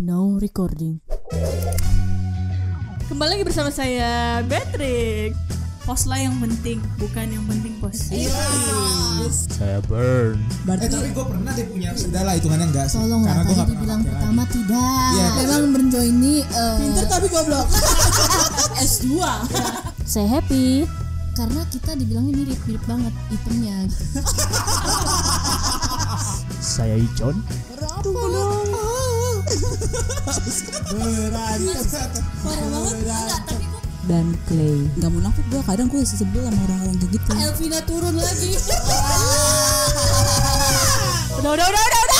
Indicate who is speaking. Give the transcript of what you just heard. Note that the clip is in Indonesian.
Speaker 1: No recording.
Speaker 2: Kembali lagi bersama saya Patrick. Iya.
Speaker 3: Pos lah yang penting, bukan yang penting pos.
Speaker 4: Saya burn.
Speaker 5: Eh tapi gue pernah deh punya Udah lah hitungannya enggak sih
Speaker 1: Tolong
Speaker 5: Karena
Speaker 1: lah
Speaker 5: gue
Speaker 1: tadi
Speaker 5: gak pernah
Speaker 1: dibilang
Speaker 5: pakai lagi.
Speaker 1: pertama tidak.
Speaker 5: Iya.
Speaker 1: Memang Brenjo ini eh,
Speaker 3: tapi goblok. S2.
Speaker 1: saya happy karena kita dibilangnya mirip-mirip banget gitu. itemnya.
Speaker 4: Saya Icon.
Speaker 6: dan Clay.
Speaker 3: Gak munafik gue, kadang gue sebel sama orang-orang kayak gitu.
Speaker 1: Elvina turun lagi.
Speaker 2: Udah udah udah udah. udah.